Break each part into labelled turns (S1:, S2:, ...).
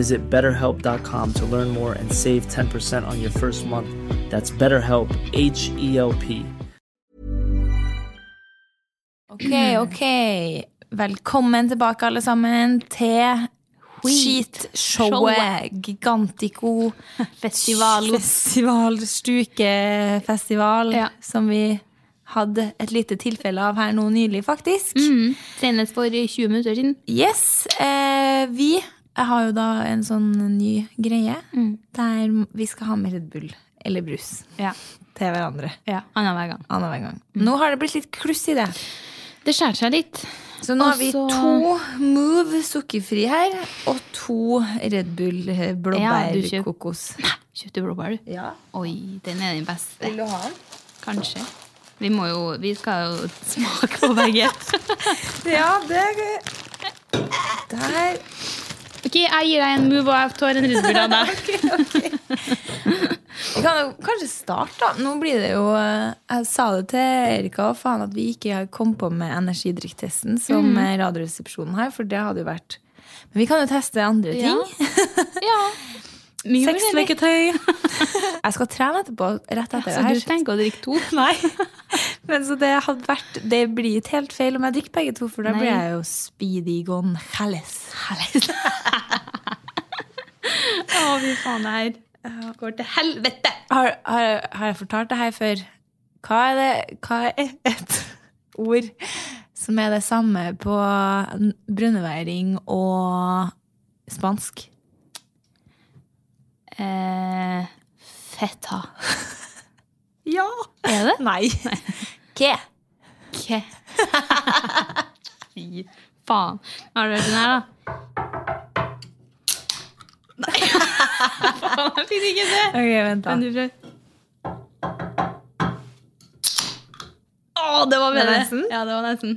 S1: Visit betterhelp.com to learn more and save 10% on your first month. That's BetterHelp, H E L P.
S2: Ok, ok. Velkommen tilbake, alle sammen, til skitshowet Gigantico
S3: Festival.
S2: Festival, Stukefestival,
S3: Ja.
S2: som vi hadde et lite tilfelle av her nå nylig, faktisk.
S3: Mm. Senest for 20 minutter siden.
S2: Yes, eh, vi jeg har jo da en sånn ny greie der vi skal ha med Red Bull eller brus
S3: Ja.
S2: til hverandre
S3: ja. Annenhver gang.
S2: annenhver gang. Nå har det blitt litt kluss i det.
S3: Det skjærer seg litt.
S2: Så nå har vi
S3: Og så-
S2: to Move sukkerfri her, og to Red Bull eh,
S3: Ja, du kjøp-
S2: blåbærkokos.
S3: Kjøpte blåbær, du?
S2: Ja.
S3: Oi, den er den beste.
S2: Vil du ha den?
S3: Kanskje. Vi må jo Vi skal jo smake på begge.
S2: Ja, det Der.
S3: ok, jeg gir deg en move, og jeg tar en Red Bull av deg.
S2: Vi kan jo kanskje starte, da. Nå blir det jo eh, Jeg sa det til Erika og faen at vi ikke kom på med energidrikktesten som
S3: Mm.
S2: eh, Radioresepsjonen har, for det hadde jo vært Men vi kan jo teste andre ting.
S3: Ja. Ja. Mye forskjellig.
S2: Sexleketøy. Jeg skal trene etterpå, rett etter
S3: Så
S2: det
S3: du
S2: her.
S3: tenker å drikke to?
S2: Nei. Men så det hadde vært Det blir ikke helt feil om jeg drikker begge to, for da
S3: Nei.
S2: blir jeg jo speedy gonjales.
S3: Å, fy faen, det her går til helvete!
S2: Har, har, har jeg fortalt det her før? Hva er det Hva er et ord som er det samme på n- brunneværing og spansk?
S3: Eh, feta.
S2: Ja!
S3: Er det?
S2: Nei. Hva?
S3: Ikke. Fy faen. Har du hørt den her, da? Nei. faen, jeg fikk ikke det.
S2: Ok, vent, da.
S3: Men du prøv. Å, det var bedre.
S2: nesten?
S3: Ja, det var nesten.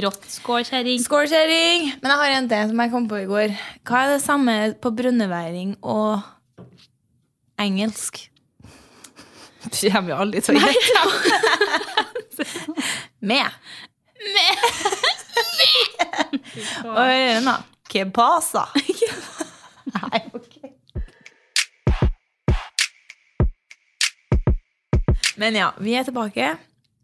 S3: Rått. Skål, kjerring.
S2: Skål, kjerring! Men jeg har en til som jeg kom på i går. Hva er det samme på brunneværing og engelsk? Du kommer jo aldri til å gjette. Med. Med. Og øynene. Que pasa? Nei, ok. Men ja, vi er tilbake.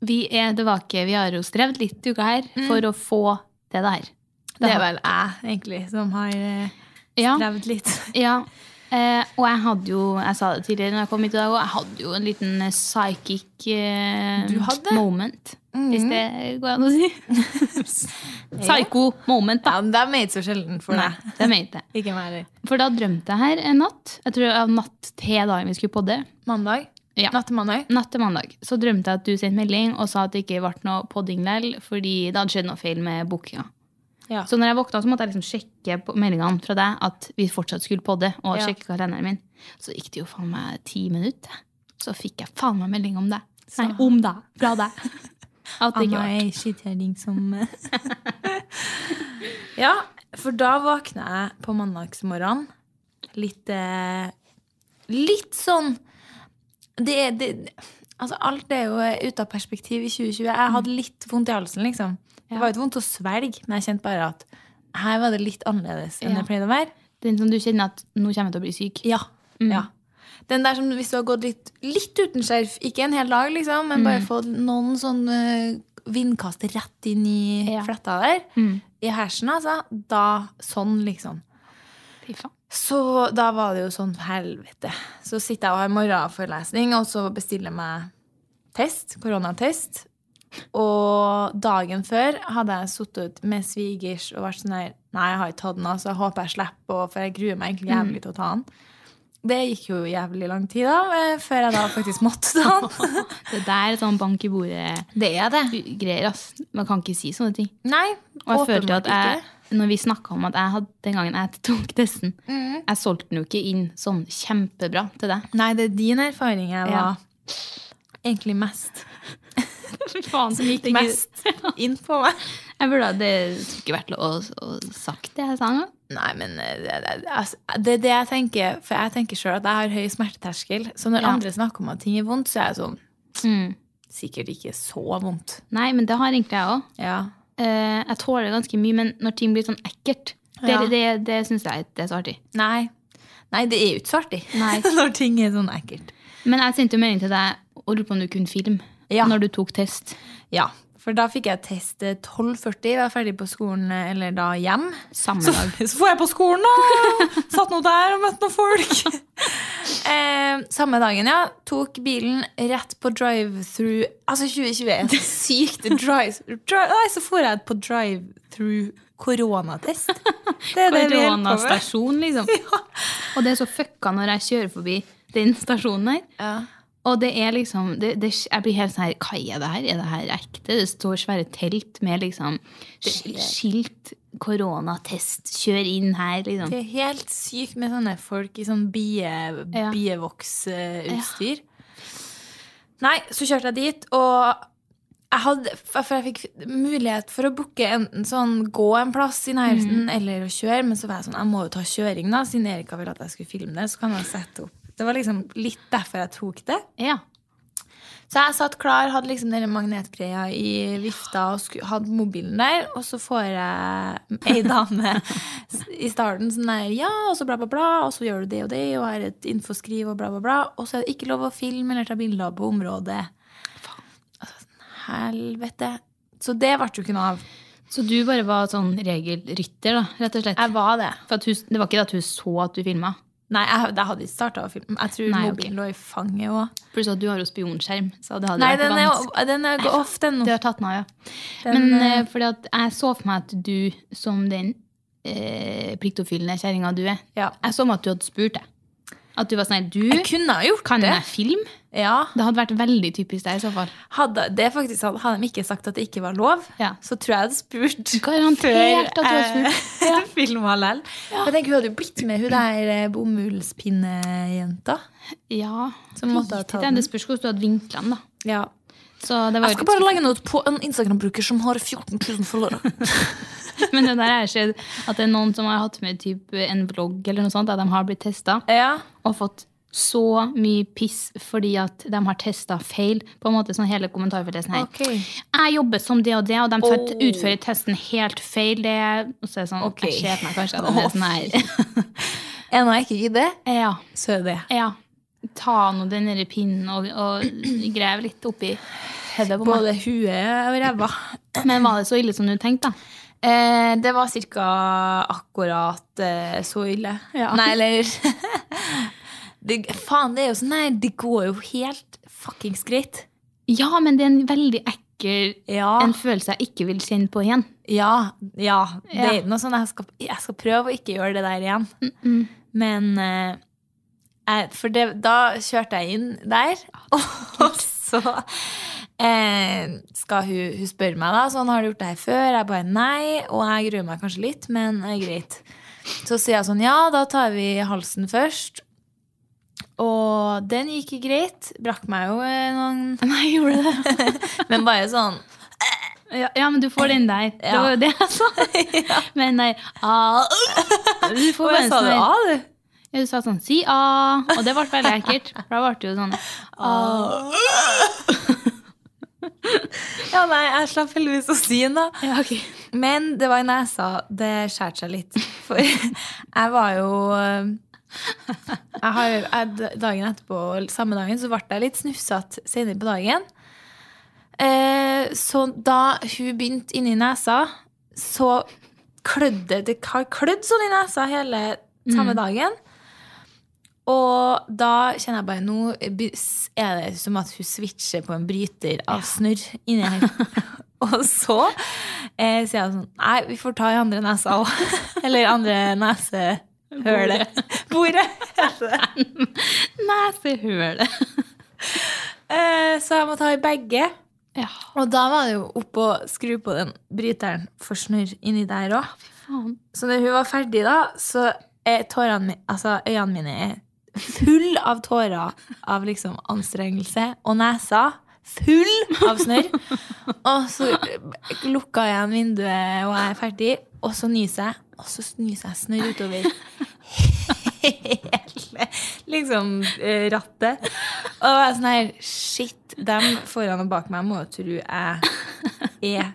S3: Vi er tilbake. Vi har jo strevd litt uka her for å få til Mm. det her.
S2: Det er vel jeg egentlig som har eh,
S3: Ja.
S2: strevd litt.
S3: Ja. Eh, og jeg hadde jo, jeg sa det tidligere når jeg kom hit i dag òg, jeg hadde jo en liten eh, psychic eh,
S2: Du hadde?
S3: moment. Hvis det går an å si. Psycho moment, da.
S2: Ja, men dem er ikke så sjelden for
S3: Nei,
S2: deg.
S3: det mente jeg.
S2: Ikke meg heller.
S3: For da drømte jeg her en natt. Jeg tror det var natt til dagen vi skulle podde.
S2: Mandag?
S3: Ja.
S2: Natt til mandag?
S3: Natt til mandag så drømte jeg at du sendte melding og sa at det ikke ble noe podding lell, fordi det hadde skjedd noe feil med bookinga.
S2: Ja.
S3: Så når jeg våkna, så måtte jeg liksom sjekke på meldingene fra deg at vi fortsatt skulle podde. Og
S2: Ja.
S3: sjekke kalenderen min. Så gikk det jo faen meg ti minutter. så fikk jeg faen meg melding om det. Nei, om deg. Fra deg. At det
S2: Anna
S3: ikke var
S2: er skitkjerring som Ja, for da våkna jeg på mandagsmorgenen litt eh, Litt sånn det, er- det, Altså, alt er jo ute av perspektiv i 2020. Jeg hadde litt vondt i halsen, liksom. Det var jo ikke vondt å svelge, men jeg kjente bare at her var det litt annerledes enn
S3: Ja.
S2: det pleide å være.
S3: Den som du kjenner at nå kommer jeg til å bli syk.
S2: Ja. ja. Den der som hvis du har gått litt, litt uten skjerf, ikke en hel dag, liksom, men bare fått noen sånn eh, vindkast rett inn i
S3: Ja.
S2: fletta der, i hersen, altså, da sånn, liksom.
S3: Fy faen.
S2: Så da var det jo sånn helvete. Så sitter jeg og har morgenforelesning, og så bestiller jeg meg test, koronatest. Og dagen før hadde jeg sittet ut med svigers og vært sånn her Nei, jeg har ikke tatt den, altså. Jeg håper jeg slipper, og- for jeg gruer meg egentlig
S3: Mm.
S2: jævlig til å ta den. Det gikk jo jævlig lang tid, da, eh, før jeg da faktisk måtte ta den.
S3: Det der er sånn bank i bordet-greier.
S2: det er det.
S3: ass. Man kan ikke si sånne ting.
S2: Nei,
S3: Og jeg følte
S2: åpenbart
S3: at jeg,
S2: ikke.
S3: når vi snakka om at jeg hadde, den gangen jeg tok testen
S2: Mm.
S3: Jeg solgte den jo ikke inn sånn kjempebra til deg.
S2: Nei, det er din erfaring jeg var
S3: Ja.
S2: egentlig mest
S3: Faen, som gikk
S2: mest inn på meg.
S3: Jeg burde ha det skulle ikke vært lov å, å sagt det jeg sa engang.
S2: Nei, men eh, det, det, altså, det er det jeg tenker. For jeg tenker sjøl at jeg har høy smerteterskel. Så når
S3: Ja.
S2: andre snakker om at ting er vondt, så er jeg sånn
S3: Mm.
S2: Sikkert ikke så vondt.
S3: Nei, men det har egentlig jeg òg.
S2: Ja.
S3: Eh, jeg tåler ganske mye, men når ting blir sånn ekkelt, det,
S2: Ja.
S3: det, det syns jeg det er så artig.
S2: Nei. Nei, det er jo ikke så artig
S3: Nei.
S2: når ting er sånn ekkelt.
S3: Men jeg sendte jo melding til deg og lurte på om du kunne film
S2: Ja.
S3: når du tok test.
S2: Ja. For da fikk jeg test eh, 12.40. Jeg var ferdig på skolen, eh, eller da hjem.
S3: Samme
S2: Så,
S3: dag.
S2: så får jeg på skolen, da! Satt nå der og møtte noen folk. eh, samme dagen, ja. Tok bilen rett på drive-through. Altså 2021. Sykt drive, drive Nei, så får jeg på drive-through koronatest. Det er det vi holder på med.
S3: Koronastasjon, liksom. Og det er så fucka når jeg kjører forbi den stasjonen her. Og det er liksom det, det, Jeg blir helt sånn her Hva er det her? Er det her ekte? Det står svære telt med liksom sk- skilt 'koronatest', kjør inn her, liksom.
S2: Det er helt sykt med sånne folk i sånn bie, bievoksutstyr. Nei, så kjørte jeg dit, og jeg hadde, for jeg fikk mulighet for å booke enten sånn gå en plass i nærheten eller å kjøre, men så var jeg sånn, jeg må jo ta kjøring da, siden Erika ville at jeg skulle filme det, så kan jeg sette opp. Det var liksom litt derfor jeg tok det.
S3: Ja.
S2: Så jeg satt klar, hadde liksom denne magnetgreia i vifta og sku, hadde mobilen der. Og så får jeg ei dame s- i starten sånn der Ja, og så bla, bla, bla. Og så gjør du det og det, og her er et infoskriv og bla, bla, bla. Og så er det ikke lov å filme eller ta bilder på området. Og så var jeg sånn, Helvete. Så det ble jo ikke noe av.
S3: Så du bare var sånn regelrytter, da, rett og slett?
S2: Jeg var det.
S3: For at hun, det var ikke det at hun så at du filma?
S2: Nei, jeg, jeg hadde ikke starta å filme. Jeg tror
S3: Nei, ok.
S2: mobilen lå i fanget òg.
S3: Pluss at du har jo spionskjerm. Så det hadde
S2: Nei,
S3: vært
S2: den er,
S3: vanskelig.
S2: den er off, den
S3: Du
S2: nå.
S3: har tatt den av, ja.
S2: Den,
S3: Men eh, fordi at jeg så for meg at du, som den eh, pliktoppfyllende kjerringa du er
S2: Ja.
S3: Jeg så for meg at du hadde spurt deg. At du var sånn her Du,
S2: Jeg kunne ha gjort
S3: kan
S2: det.
S3: jeg film?
S2: Ja.
S3: Det hadde vært veldig typisk deg i så fall.
S2: Hadde, det faktisk, hadde- hadde de ikke sagt at det ikke var lov,
S3: Ja.
S2: så tror jeg jeg hadde spurt.
S3: Garantert at du hadde spurt.
S2: eh, filma lell. Jeg tenker Hun hadde jo blitt med, hun der eh, bomullspinnejenta.
S3: Ja.
S2: Så måtte jeg ta
S3: Drit i det.
S2: den.
S3: Det spørs hvordan du hadde vinkla den, da.
S2: Ja.
S3: Så det var
S2: Jeg skal
S3: jo litt
S2: bare legge den ut på en Instagram-bruker som har 14 000 følgere.
S3: Men det der har skjedd at det er noen som har hatt med typ en vlogg eller noe sånt, at de har blitt testa
S2: Ja.
S3: og fått så mye piss fordi at de har testa feil. På en måte sånn hele kommentarfeltet her.
S2: Ok.
S3: Jeg jobber som det og det, og de tar, utfører testen helt feil. Det, og så er det sånn
S2: Ok.
S3: Jeg ser på meg kanskje at de er sånn her.
S2: En av ikke gidder,
S3: ja,
S2: så er det.
S3: ja. Ta nå den der pinnen og, og grev litt oppi hodet på meg.
S2: Både huet og ræva.
S3: Men var det så ille som du tenkte, da?
S2: Eh, det var cirka akkurat eh, så ille.
S3: Ja.
S2: Nei, eller det, Faen, det er jo sånn Nei, det går jo helt fuckings greit.
S3: Ja, men det er en veldig ekkel
S2: Ja.
S3: En følelse jeg ikke vil kjenne på igjen.
S2: Ja, ja. Det
S3: Ja.
S2: er noe sånn jeg skal, jeg skal prøve å ikke gjøre det der igjen. Men eh, jeg, For det, da kjørte jeg inn der, og så eh, skal hun, hun spørre meg, da. Sånn, har du gjort det her før? Jeg bare nei. Og jeg gruer meg kanskje litt, men eh, greit. Så sier jeg sånn, ja, da tar vi halsen først. Og den gikk greit. Brakk meg jo eh, noen
S3: Nei, gjorde det?
S2: Men bare sånn
S3: Ja, ja, men du får den der. Det var jo det jeg sa. Men den der ah, Du får bare en sånn der-
S2: ah, du?
S3: Ja, du sa sånn si a, og det ble veldig ekkelt. For da ble det jo sånn a.
S2: Ja, nei, jeg slapp heldigvis å si den, da.
S3: Ja, ok.
S2: Men det var i nesa det skjærte seg litt. For jeg var jo jeg har, jeg, Dagen etterpå, samme dagen, så ble jeg litt snufsete senere på dagen. Eh, så da hun begynte inni nesa, så klødde det har klødd sånn i nesa hele samme dagen. Og da kjenner jeg bare Nå be- s- er det som at hun switcher på en bryter av snørr inni her. Og så eh, sier jeg sånn Nei, vi får ta i andre nesa òg. Eller andre nesehølet. Bordet. heter det.
S3: Nesehølet.
S2: Eh, så jeg må ta i begge.
S3: Ja,
S2: Og da var det jo opp og skru på den bryteren for snørr inni der òg.
S3: faen.
S2: Så når hun var ferdig, da, så er tårene mine Altså, øynene mine er full av tårer av liksom anstrengelse. Og nesa full av snørr. Og så lukka jeg igjen vinduet, og jeg er ferdig. Og så nyser jeg, og så nyser jeg snørr utover hele liksom eh, rattet. Og jeg er sånn her Shit, dem foran og bak meg må jo tro jeg er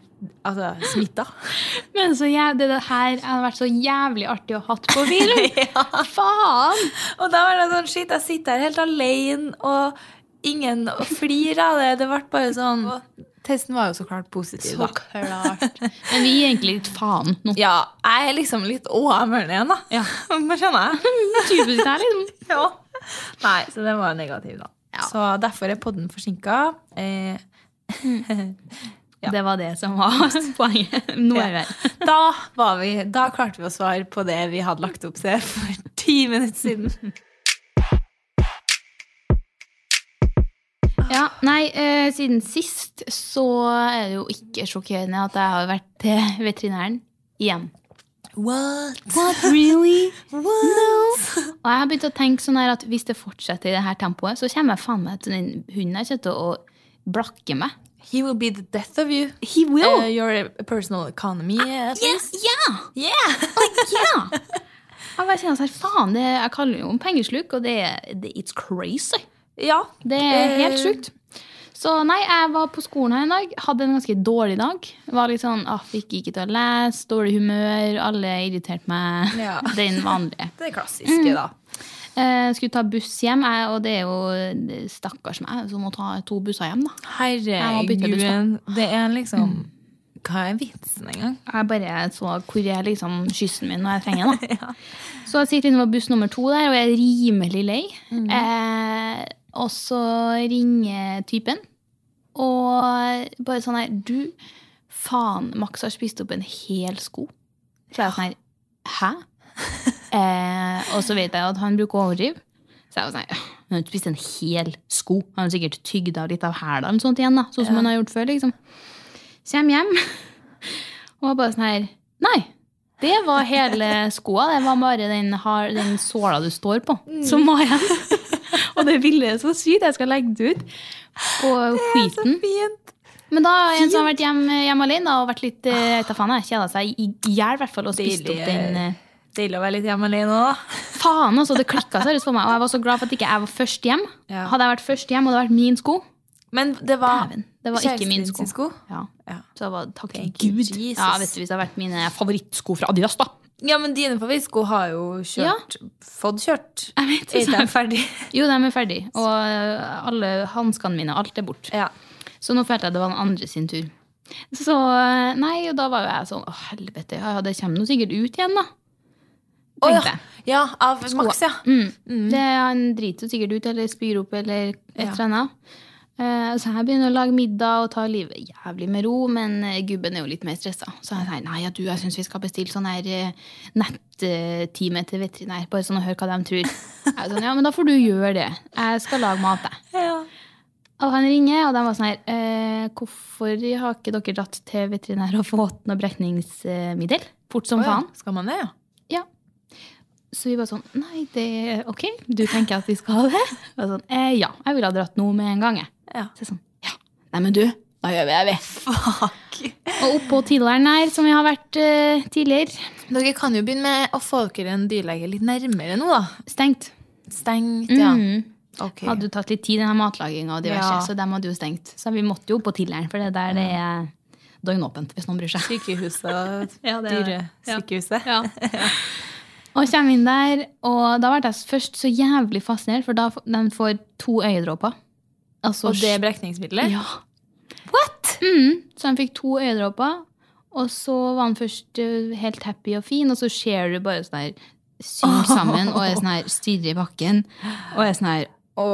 S2: altså, smitta.
S3: Men så jæv, det, det her hadde vært så jævlig artig å hatt på video. Faen!
S2: Og da var det sånn shit, jeg sitter her helt alene, og ingen flirer av det. Det ble bare sånn Testen var jo så klart positiv,
S3: Så klart. Men vi gir egentlig litt faen nå.
S2: Ja, jeg er liksom litt åmørn igjen, da. Ja. Hva skjønner jeg?
S3: Typisk der, liksom.
S2: ja. Nei, så den var jo negativ, da. Så derfor er podden forsinka. Eh,
S3: Det var det som var poenget. Nå er vi her.
S2: da, var vi, da klarte vi å svare på det vi hadde lagt opp til for ti minutter siden.
S3: Ja, nei, eh, siden sist så er det jo ikke sjokkerende at jeg har vært til veterinæren igjen.
S2: What?
S3: What really?
S2: What?
S3: Og jeg har begynt å tenke sånn her at hvis det fortsetter i det her tempoet, så kommer jeg faen meg til den hunden jeg kjøpte og blakke meg.
S2: He will be the death of you.
S3: He
S2: Eh, your personal economy. eh, at least.
S3: Ja!
S2: Yeah!
S3: Ja! Jeg bare kjenner sånn, faen, det, jeg kaller jo om pengesluk, og det, det it's crazy.
S2: Ja.
S3: Det er helt
S2: Eh.
S3: sjukt. Så nei, jeg var på skolen her en dag, hadde en ganske dårlig dag. Var litt sånn, ah, fikk ikke til å lese, dårlig humør, alle irriterte meg.
S2: Ja.
S3: Den vanlige.
S2: Det er klassiske,
S3: Mm.
S2: da.
S3: Eh, skulle ta buss hjem, jeg, og det er jo stakkars meg som må ta to busser hjem, da. Jeg må bytte buss, da.
S2: Herregud, det er liksom Hva er vitsen engang?
S3: Jeg bare så hvor er liksom kyssen min når jeg trenger den. da. Så jeg sitter inne på buss nummer to der og jeg er rimelig lei.
S2: Mm.
S3: Eh, og så ringer typen og bare sånn her Du, faen, Max har spist opp en hel sko. Så er jeg sånn her Hæ? Eh, og så vet jeg at han bruker å overdrive. Så jeg var sånn «Åh, Han har ikke spist en hel sko. Han har sikkert tygd av litt av hæla eller sånt igjen, da. Sånn som han har gjort før, liksom. Kjem hjem. Og var bare sånn her Nei! Det var hele skoa. Det var bare den, har- den såla du står på, som var igjen. og det bildet er så sykt. Jeg skal legge det ut på skiten.
S2: Fint.
S3: Men da er en som har vært hjemme, hjemme alene da, og vært litt eh, jeg vet da faen, jeg kjeda seg i i hjel, i hvert fall, og spist opp
S2: Deilig,
S3: den eh,
S2: Deilig å være litt hjemme alene òg.
S3: Faen, altså. Det klikka seriøst for meg. Og jeg var så glad for at ikke jeg var først hjem.
S2: Ja.
S3: Hadde jeg vært først hjem, og det hadde vært min sko
S2: Men det var
S3: Dæven. Det var ikke
S2: kjæresten
S3: min
S2: din
S3: sko.
S2: sin sko?
S3: Ja.
S2: Ja.
S3: Så det var takk til
S2: Thank you,
S3: Gud.
S2: Jesus.
S3: Ja, vet du, Hvis det hadde vært mine favorittsko fra Adidas, da.
S2: Ja, men dine favorittsko har jo kjørt Fått kjørt.
S3: Jeg vet,
S2: Er
S3: så-
S2: de ferdig?
S3: Jo, de er ferdig. Og eh, alle hanskene mine, alt er borte.
S2: Ja.
S3: Så nå følte jeg det var den andre sin tur. Så eh, nei, og da var jo jeg sånn Å, helvete, ja, ja, det kommer nå sikkert ut igjen, da.
S2: Å ja.
S3: Tenkte jeg.
S2: ja. Av Max, ja.
S3: Mm. Det, han driter jo sikkert ut, eller spyr opp, eller et eller annet. Eh, så jeg begynner å lage middag og ta livet jævlig med ro, men eh, gubben er jo litt mer stressa. Så jeg sier nei, ja, du, jeg syns vi skal bestille sånn her eh, nettime til veterinær, bare sånn å høre hva de tror. Jeg er sånn, ja, men da får du gjøre det. Jeg skal lage mat, jeg.
S2: Ja.
S3: Og han ringer, og de var sånn her eh, Hvorfor har ikke dere dratt til veterinær og fått noe brekningsmiddel? Fort som
S2: Å ja.
S3: faen.
S2: Skal man det, ja?
S3: Så vi var sånn Nei, det er ok, du tenker at vi skal ha det? Og sånn, eh, ja, jeg ville ha dratt nå med en gang. Jeg.
S2: Ja.
S3: Så jeg sånn, ja, nei, men du, da gjør vi det, vi. Og oppå tidligeren her, som vi har vært eh, tidligere,
S2: Dere kan jo begynne med å få dere en dyrlege litt nærmere nå, da.
S3: stengt.
S2: Stengt, ja.
S3: Mm.
S2: Ok.
S3: Hadde jo tatt litt tid, denne matlaginga og diverse,
S2: Ja.
S3: så dem hadde jo stengt. Så vi måtte jo opp på tidligeren, for det der det er døgnåpent, hvis noen bryr seg.
S2: Sykehuset og
S3: Ja, det er det. Ja.
S2: dyresykehuset.
S3: Ja. Og kommer inn der, og da ble jeg først så jævlig fascinert, for da f- de får to øyedråper. Altså,
S2: Og det brekningsmiddelet?
S3: Ja. What?! Mm, så han fikk to øyedråper, og så var han først eh, helt happy og fin, og så ser du bare sånn her syr sammen og er sånn her stirrer i bakken. Og er sånn her Å,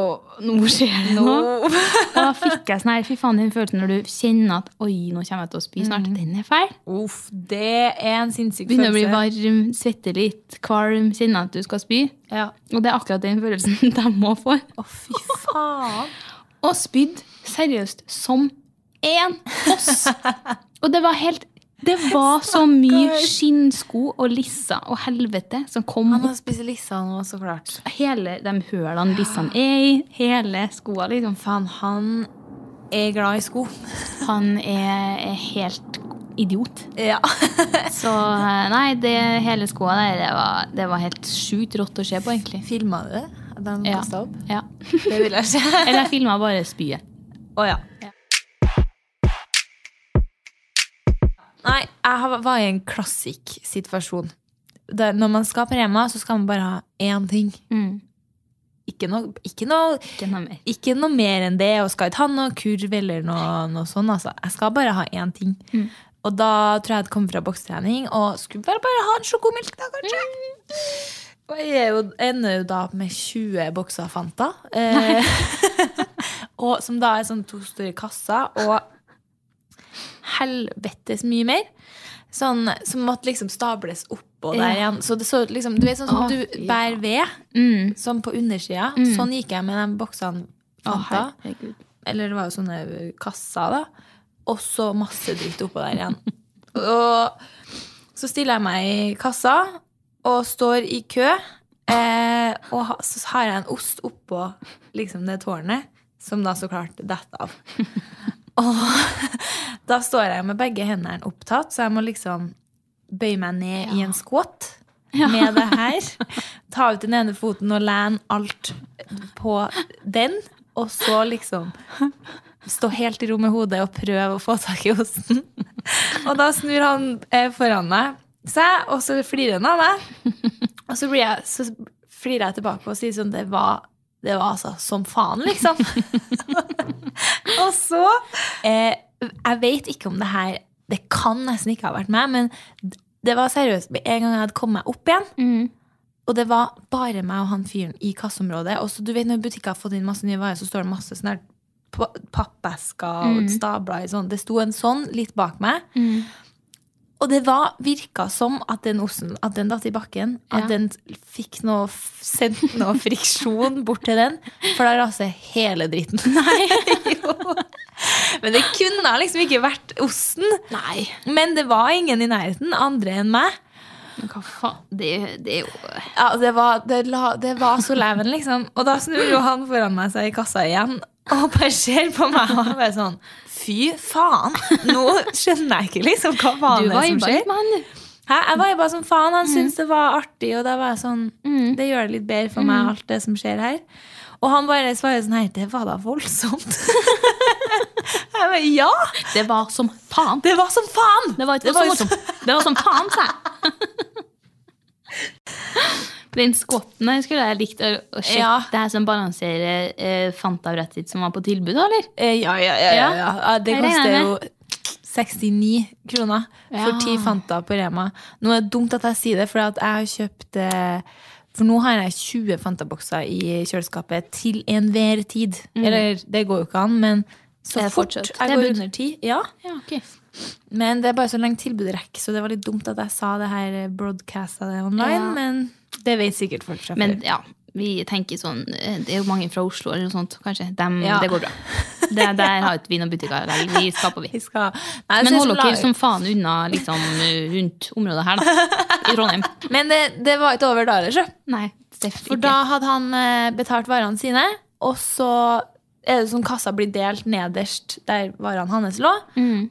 S3: nå skjer det noe! Og da fikk jeg sånn her Fy faen, den følelsen når du kjenner at Oi, nå kommer jeg til å spy snart. Den er fæl.
S2: Uff, det er en sinnssyk
S3: Begynner å bli
S2: følelse.
S3: varm, svetter litt, kvalm, kjenner at du skal spy.
S2: Ja.
S3: Og det er akkurat den følelsen de må få.
S2: Å, fy faen.
S3: Og spydd seriøst som én foss. Og det var helt Det var så mye skinnsko og lisser og helvete som kom
S2: Han
S3: opp
S2: har spesialista nå, så klart.
S3: hele de hølene lissene er i. Hele skoa, liksom.
S2: Faen, han er glad i sko.
S3: Han er er helt idiot.
S2: Ja.
S3: Så eh, nei, det hele skoa der, det var, det var helt sjukt rått å se på, egentlig.
S2: Filma du det? At han
S3: Ja.
S2: kastet opp?
S3: Ja.
S2: Det vil jeg se.
S3: Eller jeg filma bare spyet.
S2: Å ja. Nei, jeg har- var i en klassisk situasjon. Der, når man skal på Rema, så skal man bare ha én ting.
S3: Mm.
S2: Ikke noe, ikke noe,
S3: Ikke noe mer.
S2: ikke noe mer enn det, og skal ikke ha noe kurv eller noe, noe sånn. Altså. Jeg skal bare ha én ting.
S3: Mm.
S2: Og da tror jeg jeg hadde kommet fra bokstrening og skulle bare, bare ha en sjokomilk, da, kanskje.
S3: Mm.
S2: Og jeg er jo, ender jo da opp med 20 bokser Fanta. Eh, og som da er sånn to store kasser, og helvetes mye mer. Sånn som måtte liksom stables oppå der
S3: Ja.
S2: igjen. Så det så ut liksom, du vet sånn som
S3: Å,
S2: du
S3: fy
S2: bærer ved,
S3: Mm.
S2: sånn på undersida. Sånn gikk jeg med de boksene
S3: Å,
S2: Fanta.
S3: herregud.
S2: Eller det var jo sånne kasser, da. Og så masse dritt oppå der igjen. og så stiller jeg meg i kassa og står i kø. Eh, og ha, så har jeg en ost oppå liksom det tårnet, som da så klart detter av. og da står jeg med begge hendene opptatt, så jeg må liksom bøye meg ned i en squat med det her. Ta ut den ene foten og lene alt på den. Og så liksom stå helt i ro med hodet og prøve å få tak i osten. Og da snur han eh, foran meg seg, og så flirer han av meg. Og så, blir jeg, så flirer jeg tilbake og sier sånn Det var, det var altså som faen, liksom. og så eh, Jeg vet ikke om det her Det kan nesten ikke ha vært meg, men det var seriøst med en gang jeg hadde kommet meg opp igjen. Og det var bare meg og han fyren i kasseområdet. Og så du vet Når butikker har fått inn masse nye varer, så står det masse sånne her pa- pappesker
S3: Mm.
S2: og stabler. i Sånn. Det sto en sånn litt bak meg. Og det var, virka som at den osten At den datt i bakken. At
S3: Ja.
S2: den fikk noe f- sendt noe friksjon bort til den. For da raser hele dritten. Nei, jo. Men det kunne liksom ikke vært osten.
S3: Nei.
S2: Men det var ingen i nærheten andre enn meg.
S3: Men hva faen? Det, det er jo
S2: Ja, altså, det var, det, la, det var så leven, liksom. Og da snur jo han foran meg seg i kassa igjen og bare ser på meg og bare sånn Fy faen! Nå skjønner jeg ikke liksom hva faen
S3: Du
S2: det er som
S3: viber
S2: skjer.
S3: litt med han,
S2: Hæ? Jeg var jo bare sånn faen, han syntes det var artig, og da var jeg sånn Det gjør det litt bedre for meg, alt det som skjer her. Og han bare svarer sånn Nei, det var da voldsomt. jeg bare Ja!
S3: du. Det var som faen.
S2: Det var som faen!
S3: Det var, ikke
S2: Det var jo
S3: som, det var som faen, sa jeg. Den skotten der skulle jeg likt å, å sjekke.
S2: Ja.
S3: Det her som balanserer eh, Fanta-brettet ditt som var på tilbud, da, eller?
S2: Eh, Ja, ja, ja. ja, ja. ja det
S3: Jeg regner
S2: koster
S3: med.
S2: jo 69 kroner for
S3: Ja.
S2: 10 Fanta på Rema. Nå er det dumt at jeg sier det, for at jeg har kjøpt eh, For nå har jeg 20 Fanta-bokser i kjøleskapet til enhver tid. Eller det går jo ikke an, men så
S3: Mm. Det er
S2: fort
S3: fortsatt. Det
S2: jeg
S3: er
S2: går
S3: bud.
S2: under ti. Ja.
S3: Ja, ok.
S2: Men det er bare så lenge tilbudet rekker, så det var litt dumt at jeg sa det her eh, broadcasta det online,
S3: Ja.
S2: men det vet sikkert folk fra
S3: Men
S2: før.
S3: ja, vi tenker sånn eh, Det er jo mange fra Oslo eller noe sånt, kanskje. Dem,
S2: Ja.
S3: Det går bra. Det er der har ikke vi noen butikker heller. Vi skaper, vi.
S2: Vi skal... Nei,
S3: Men
S2: så jeg
S3: hold
S2: skal
S3: dere
S2: lage-
S3: som faen unna liksom, rundt området her, da. I Trondheim.
S2: Men det, det var ikke over da, eller så.
S3: Nei, Steff,
S2: For da hadde han eh, betalt varene sine, og så er det sånn kassa blir delt nederst der varene hans lå.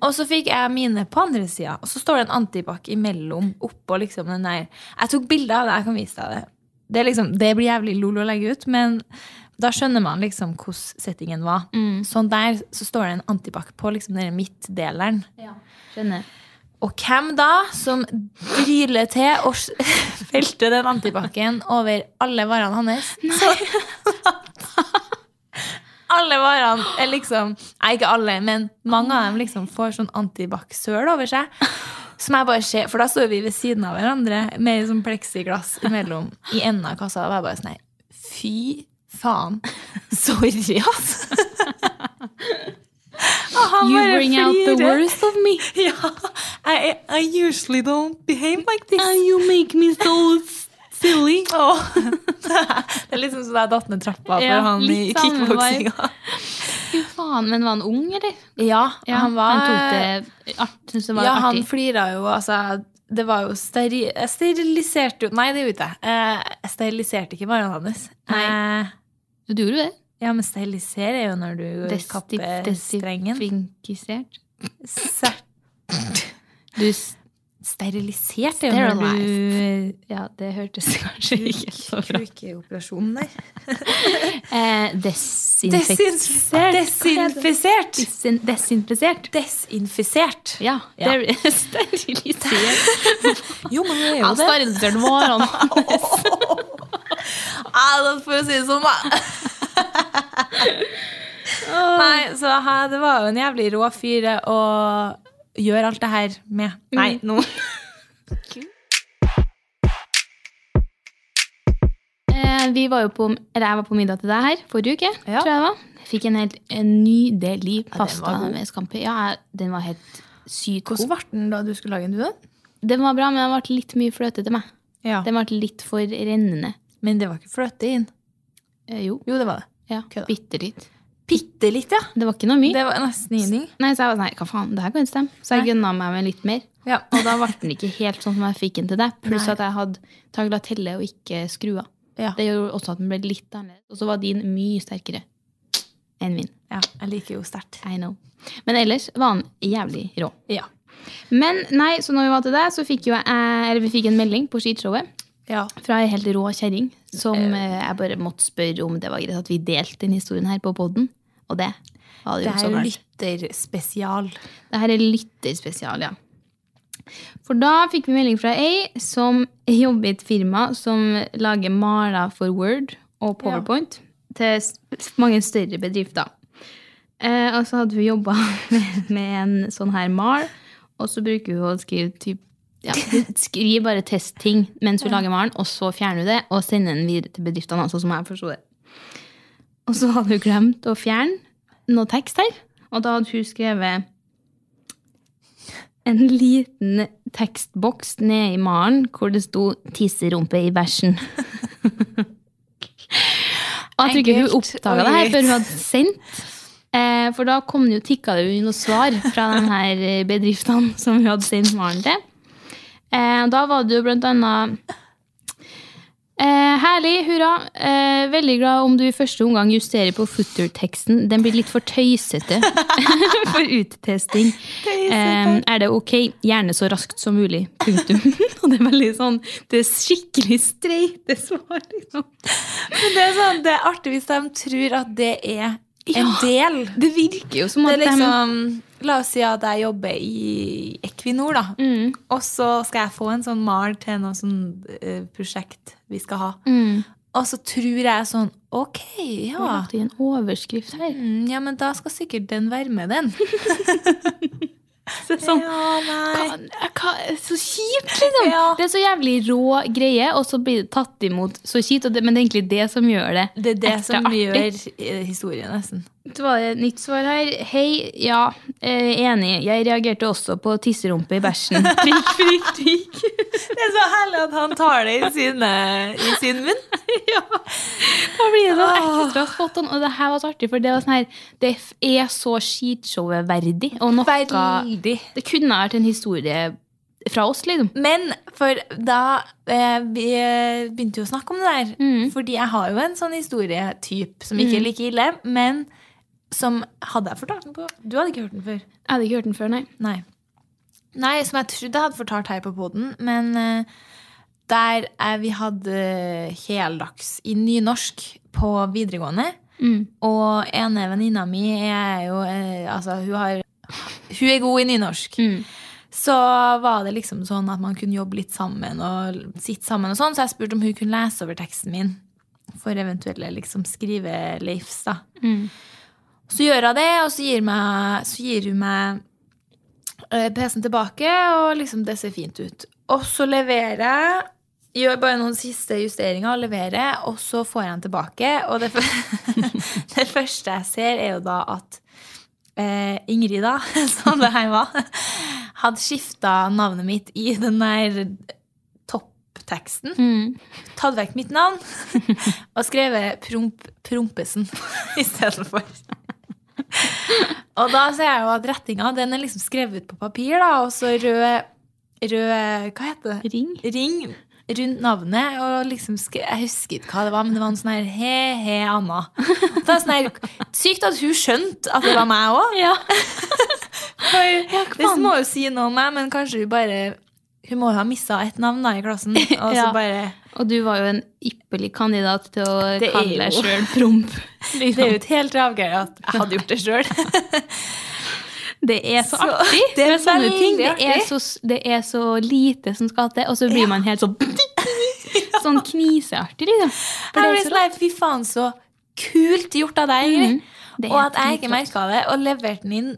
S2: Og så fikk jeg mine på andre sida, og så står det en antibac imellom. Oppå liksom den der. Jeg tok bilde av det, jeg kan vise deg det. Det, er liksom, det blir jævlig lol å legge ut, men da skjønner man liksom hvordan settingen var. Sånn der så står det en antibac på liksom den midtdeleren.
S3: Skjønner.
S2: Og hvem da som dryler til og s- velter den antibac-en over alle varene hans? alle varene er liksom Nei, ikke alle, men mange av dem liksom får sånn antibac-søl over seg. Som jeg bare ser, For da står vi ved siden av hverandre med sånn pleksiglass imellom i enden av kassa. Og jeg bare sånn nei, Fy faen. Sorry, ass. Og han
S3: You
S2: bare
S3: bring out the
S2: flirer.
S3: worst of me.
S2: Ja, I, I usually don't behave like this.
S3: And you make me so silly.
S2: Åh. Det er liksom sånn jeg datt ned trappa for
S3: Ja,
S2: han i
S3: litt samme
S2: kickboksinga.
S3: Fy faen, men var han ung, eller?
S2: Ja, han var
S3: Han tok det art, synes det var
S2: Ja, han
S3: artig.
S2: flira jo, altså. Det var jo steri, jeg steriliserte jo Nei, det gjorde jeg ikke. Eh, Jeg steriliserte ikke varene hans.
S3: Nei.
S2: Eh,
S3: Du gjorde det?
S2: Ja, men sterilisere er jo når du kapper strengen.
S3: Desifinkisert.
S2: Ser-
S3: Du s-
S2: Sterilisert er jo når du
S3: Ja, det hørtes kanskje ikke så bra ut.
S2: Kukeoperasjonen der.
S3: Eh, desinfek...
S2: Desinfisert. Desinfisert.
S3: Desin desinfisert.
S2: Desinfisert.
S3: Ja,
S2: Ja.
S3: det er sterilisert.
S2: Jo, men det er
S3: Ja,
S2: jo det.
S3: sterilisert varene hans.
S2: Ja, for å si det sånn, da. Nei, så ha- det var jo en jævlig rå fyr eh, å gjøre alt det her med. Nei, nå
S3: Eh, vi var jo på, eller jeg var på middag til deg her forrige uke.
S2: Ja.
S3: tror jeg det var. Jeg fikk en helt en nydelig
S2: var
S3: pasta
S2: god.
S3: med scampi. Ja, jeg- den var helt sykt
S2: Hvordan
S3: god.
S2: ble den da du skulle lage en duett?
S3: Den var bra, men den ble litt mye fløte til meg.
S2: Ja.
S3: Den ble litt for rennende.
S2: Men det var ikke fløte inn.
S3: Eh, jo,
S2: Jo, det var det.
S3: ja,
S2: Kødda.
S3: bitte litt.
S2: Bitte litt, ja.
S3: Det var ikke noe mye.
S2: Det var nesten ingenting.
S3: Nei, Så jeg var sånn, nei, hva faen, det her kan ikke stemme. Så jeg gønna meg med litt mer.
S2: Ja.
S3: Og da ble den ikke helt sånn som jeg fikk den til deg. Pluss
S2: Nei.
S3: at jeg hadde taglatelle og ikke skrua.
S2: Ja.
S3: Det gjorde også at den ble litt annerledes. Og så var din mye sterkere enn min.
S2: ja. Jeg liker jo sterkt.
S3: I know. Men ellers var han jævlig rå.
S2: Ja.
S3: Men nei, så når vi var til deg, så fikk jo jeg, eller vi fikk en melding på skishowet
S2: ja.
S3: fra ei helt rå kjerring som eh, jeg bare måtte spørre om det var greit at vi delte den historien her på poden. Og det var det
S2: Det
S3: jo
S2: her
S3: så
S2: er
S3: galt.
S2: lytterspesial.
S3: Det her er lytterspesial, ja. For da fikk vi melding fra ei som jobber i et firma som lager maler for Word og PowerPoint til s- mange større bedrifter. Eh, og så hadde hun jobba med, med en sånn her mal, og så bruker hun å skrive typ, ja, hun skriver bare testting mens hun lager malen, og så fjerner hun det og sender den videre til bedriftene. Altså, som jeg forstod det. Og så hadde hun glemt å fjerne noe tekst her, og da hadde hun skrevet en liten tekstboks nede i malen hvor det sto 'tisserumpe i bæsjen'. Og jeg tror ikke hun
S2: Enkelt
S3: oppdaga
S2: og
S3: det her før hun
S2: greit.
S3: hadde sendt. Eh, for da kom det jo, tikka det jo inn noen svar fra de her eh, bedriftene som hun hadde sendt malen til. Eh, og da var det jo blant annet Eh, herlig, hurra. Eh, veldig glad om du i første omgang justerer på footer-teksten. Den blir litt for tøysete for uttesting. Eh, er det ok? Gjerne så raskt som mulig. Punktum. Og det er veldig sånn Det er skikkelig streite svar, liksom.
S2: Det er, sånn, det er artig hvis de tror at det er en del.
S3: Det virker jo som
S2: Det
S3: at
S2: er liksom, la oss si at jeg jobber i Equinor, da.
S3: Mm.
S2: Og så skal jeg få en sånn mal til noe sånn eh, prosjekt vi skal ha.
S3: Mm.
S2: Og så tror jeg sånn Ok,
S3: de har
S2: ja.
S3: lagt i en overskrift her.
S2: Mm, ja, men da skal sikkert den være med, den.
S3: Så, sånn,
S2: Ja, nei.
S3: hva, hva, så kjipt, liksom!
S2: Ja.
S3: Det er så jævlig rå greie, og så blir det tatt imot så kjipt. og det- Men det er egentlig det som gjør det
S2: Det er det
S3: ekstra
S2: som
S3: artig.
S2: gjør eh, historien, nesten.
S3: Så var det et nytt svar her. Hei, ja, eh, enig. Jeg reagerte også på tisserumpe i bæsjen. Prikk, prikk, prikk.
S2: Det er så herlig at han tar det i, sine, i sin munn.
S3: ja. Da blir det sånn ekstra spot on. Og det her var så artig, for det var sånn her Det f- er så skishowet verdig. Og noe
S2: Veldig.
S3: Det kunne ha vært en historie fra oss, liksom.
S2: Men for da eh, Vi eh, begynte jo å snakke om det der.
S3: Mm.
S2: Fordi jeg har jo en sånn historietyp som ikke er like ille, men som hadde jeg fortalt den på Du hadde ikke hørt den før.
S3: Jeg hadde ikke hørt den før, nei.
S2: Nei. Nei, som jeg trodde jeg hadde fortalt her på poden, men eh, der eh, vi hadde heldags i nynorsk på videregående. Og ene venninna mi er jo eh, Altså, hun har Hun er god i nynorsk. Så var det liksom sånn at man kunne jobbe litt sammen og l- sitte sammen og sånn, så jeg spurte om hun kunne lese over teksten min for eventuelle liksom skrive-Leifs, da. Så gjør hun det, og så gir, meg, så gir hun meg eh, PC-en tilbake, og liksom det ser fint ut. Og så leverer jeg, gjør bare noen siste justeringer og leverer, og så får jeg den tilbake. Og det, f- det første jeg ser, er jo da at eh, Ingrid, da, som det her var, hadde skifta navnet mitt i den der toppteksten.
S3: Mm.
S2: Tatt vekk mitt navn og skrevet Promp, Prompesen istedenfor. Og da ser jeg jo at rettinga den er liksom skrevet ut på papir, da, og så rød, rød Hva heter det?
S3: Ring.
S2: Ring rundt navnet. Og liksom skre, jeg husker ikke hva det var, men det var en sånn her he-he Anna. Det er sånn her, Sykt at hun skjønte at det var meg òg.
S3: Ja.
S2: Det må jo si noe om meg, men kanskje hun bare Hun må jo ha missa et navn da i klassen. Og så
S3: Ja.
S2: bare
S3: Og du var jo en ypperlig kandidat til å
S2: Det er
S3: kalle deg
S2: jo-
S3: sjøl promp.
S2: Det er jo ikke helt avgøy at jeg hadde gjort det sjøl.
S3: Det er så,
S2: Så-
S3: artig.
S2: Det er
S3: med sånne
S2: veldig
S3: ting. Det er,
S2: artig.
S3: så, det er så lite som skal til, og så blir man helt sånn Sånn kniseartig, liksom.
S2: Jeg
S3: For det
S2: ble
S3: er så
S2: sånn her, fy faen, så kult gjort av deg, Ingrid.
S3: Mhm. Det er
S2: Og at jeg
S3: dritrått.
S2: ikke merka det, og leverte den inn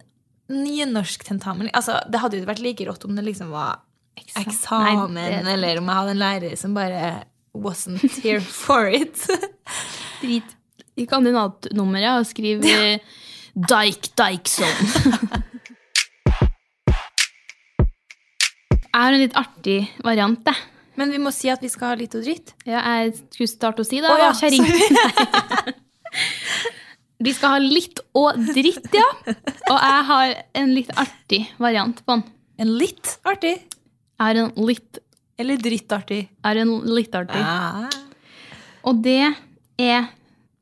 S2: nynorsktentamen. Altså, det hadde jo vært like rått om det liksom var
S3: Eksamen.
S2: eksamen,
S3: Nei, det-
S2: eller om jeg hadde en lærer som bare wasn't here for it.
S3: drit. I kandidatnummeret og skriv eh, Dike Dikeson. Jeg har en litt artig variant, jeg.
S2: Men vi må si at vi skal ha litt og dritt.
S3: Ja, jeg skulle starte å si det.
S2: Å ja,
S3: da, kjerring. Vi skal ha litt og dritt, ja. Og jeg har en litt artig variant på den.
S2: En litt artig.
S3: Jeg har en litt,
S2: Eller drittartig.
S3: jeg har en litt artig.
S2: Ah.
S3: Og det er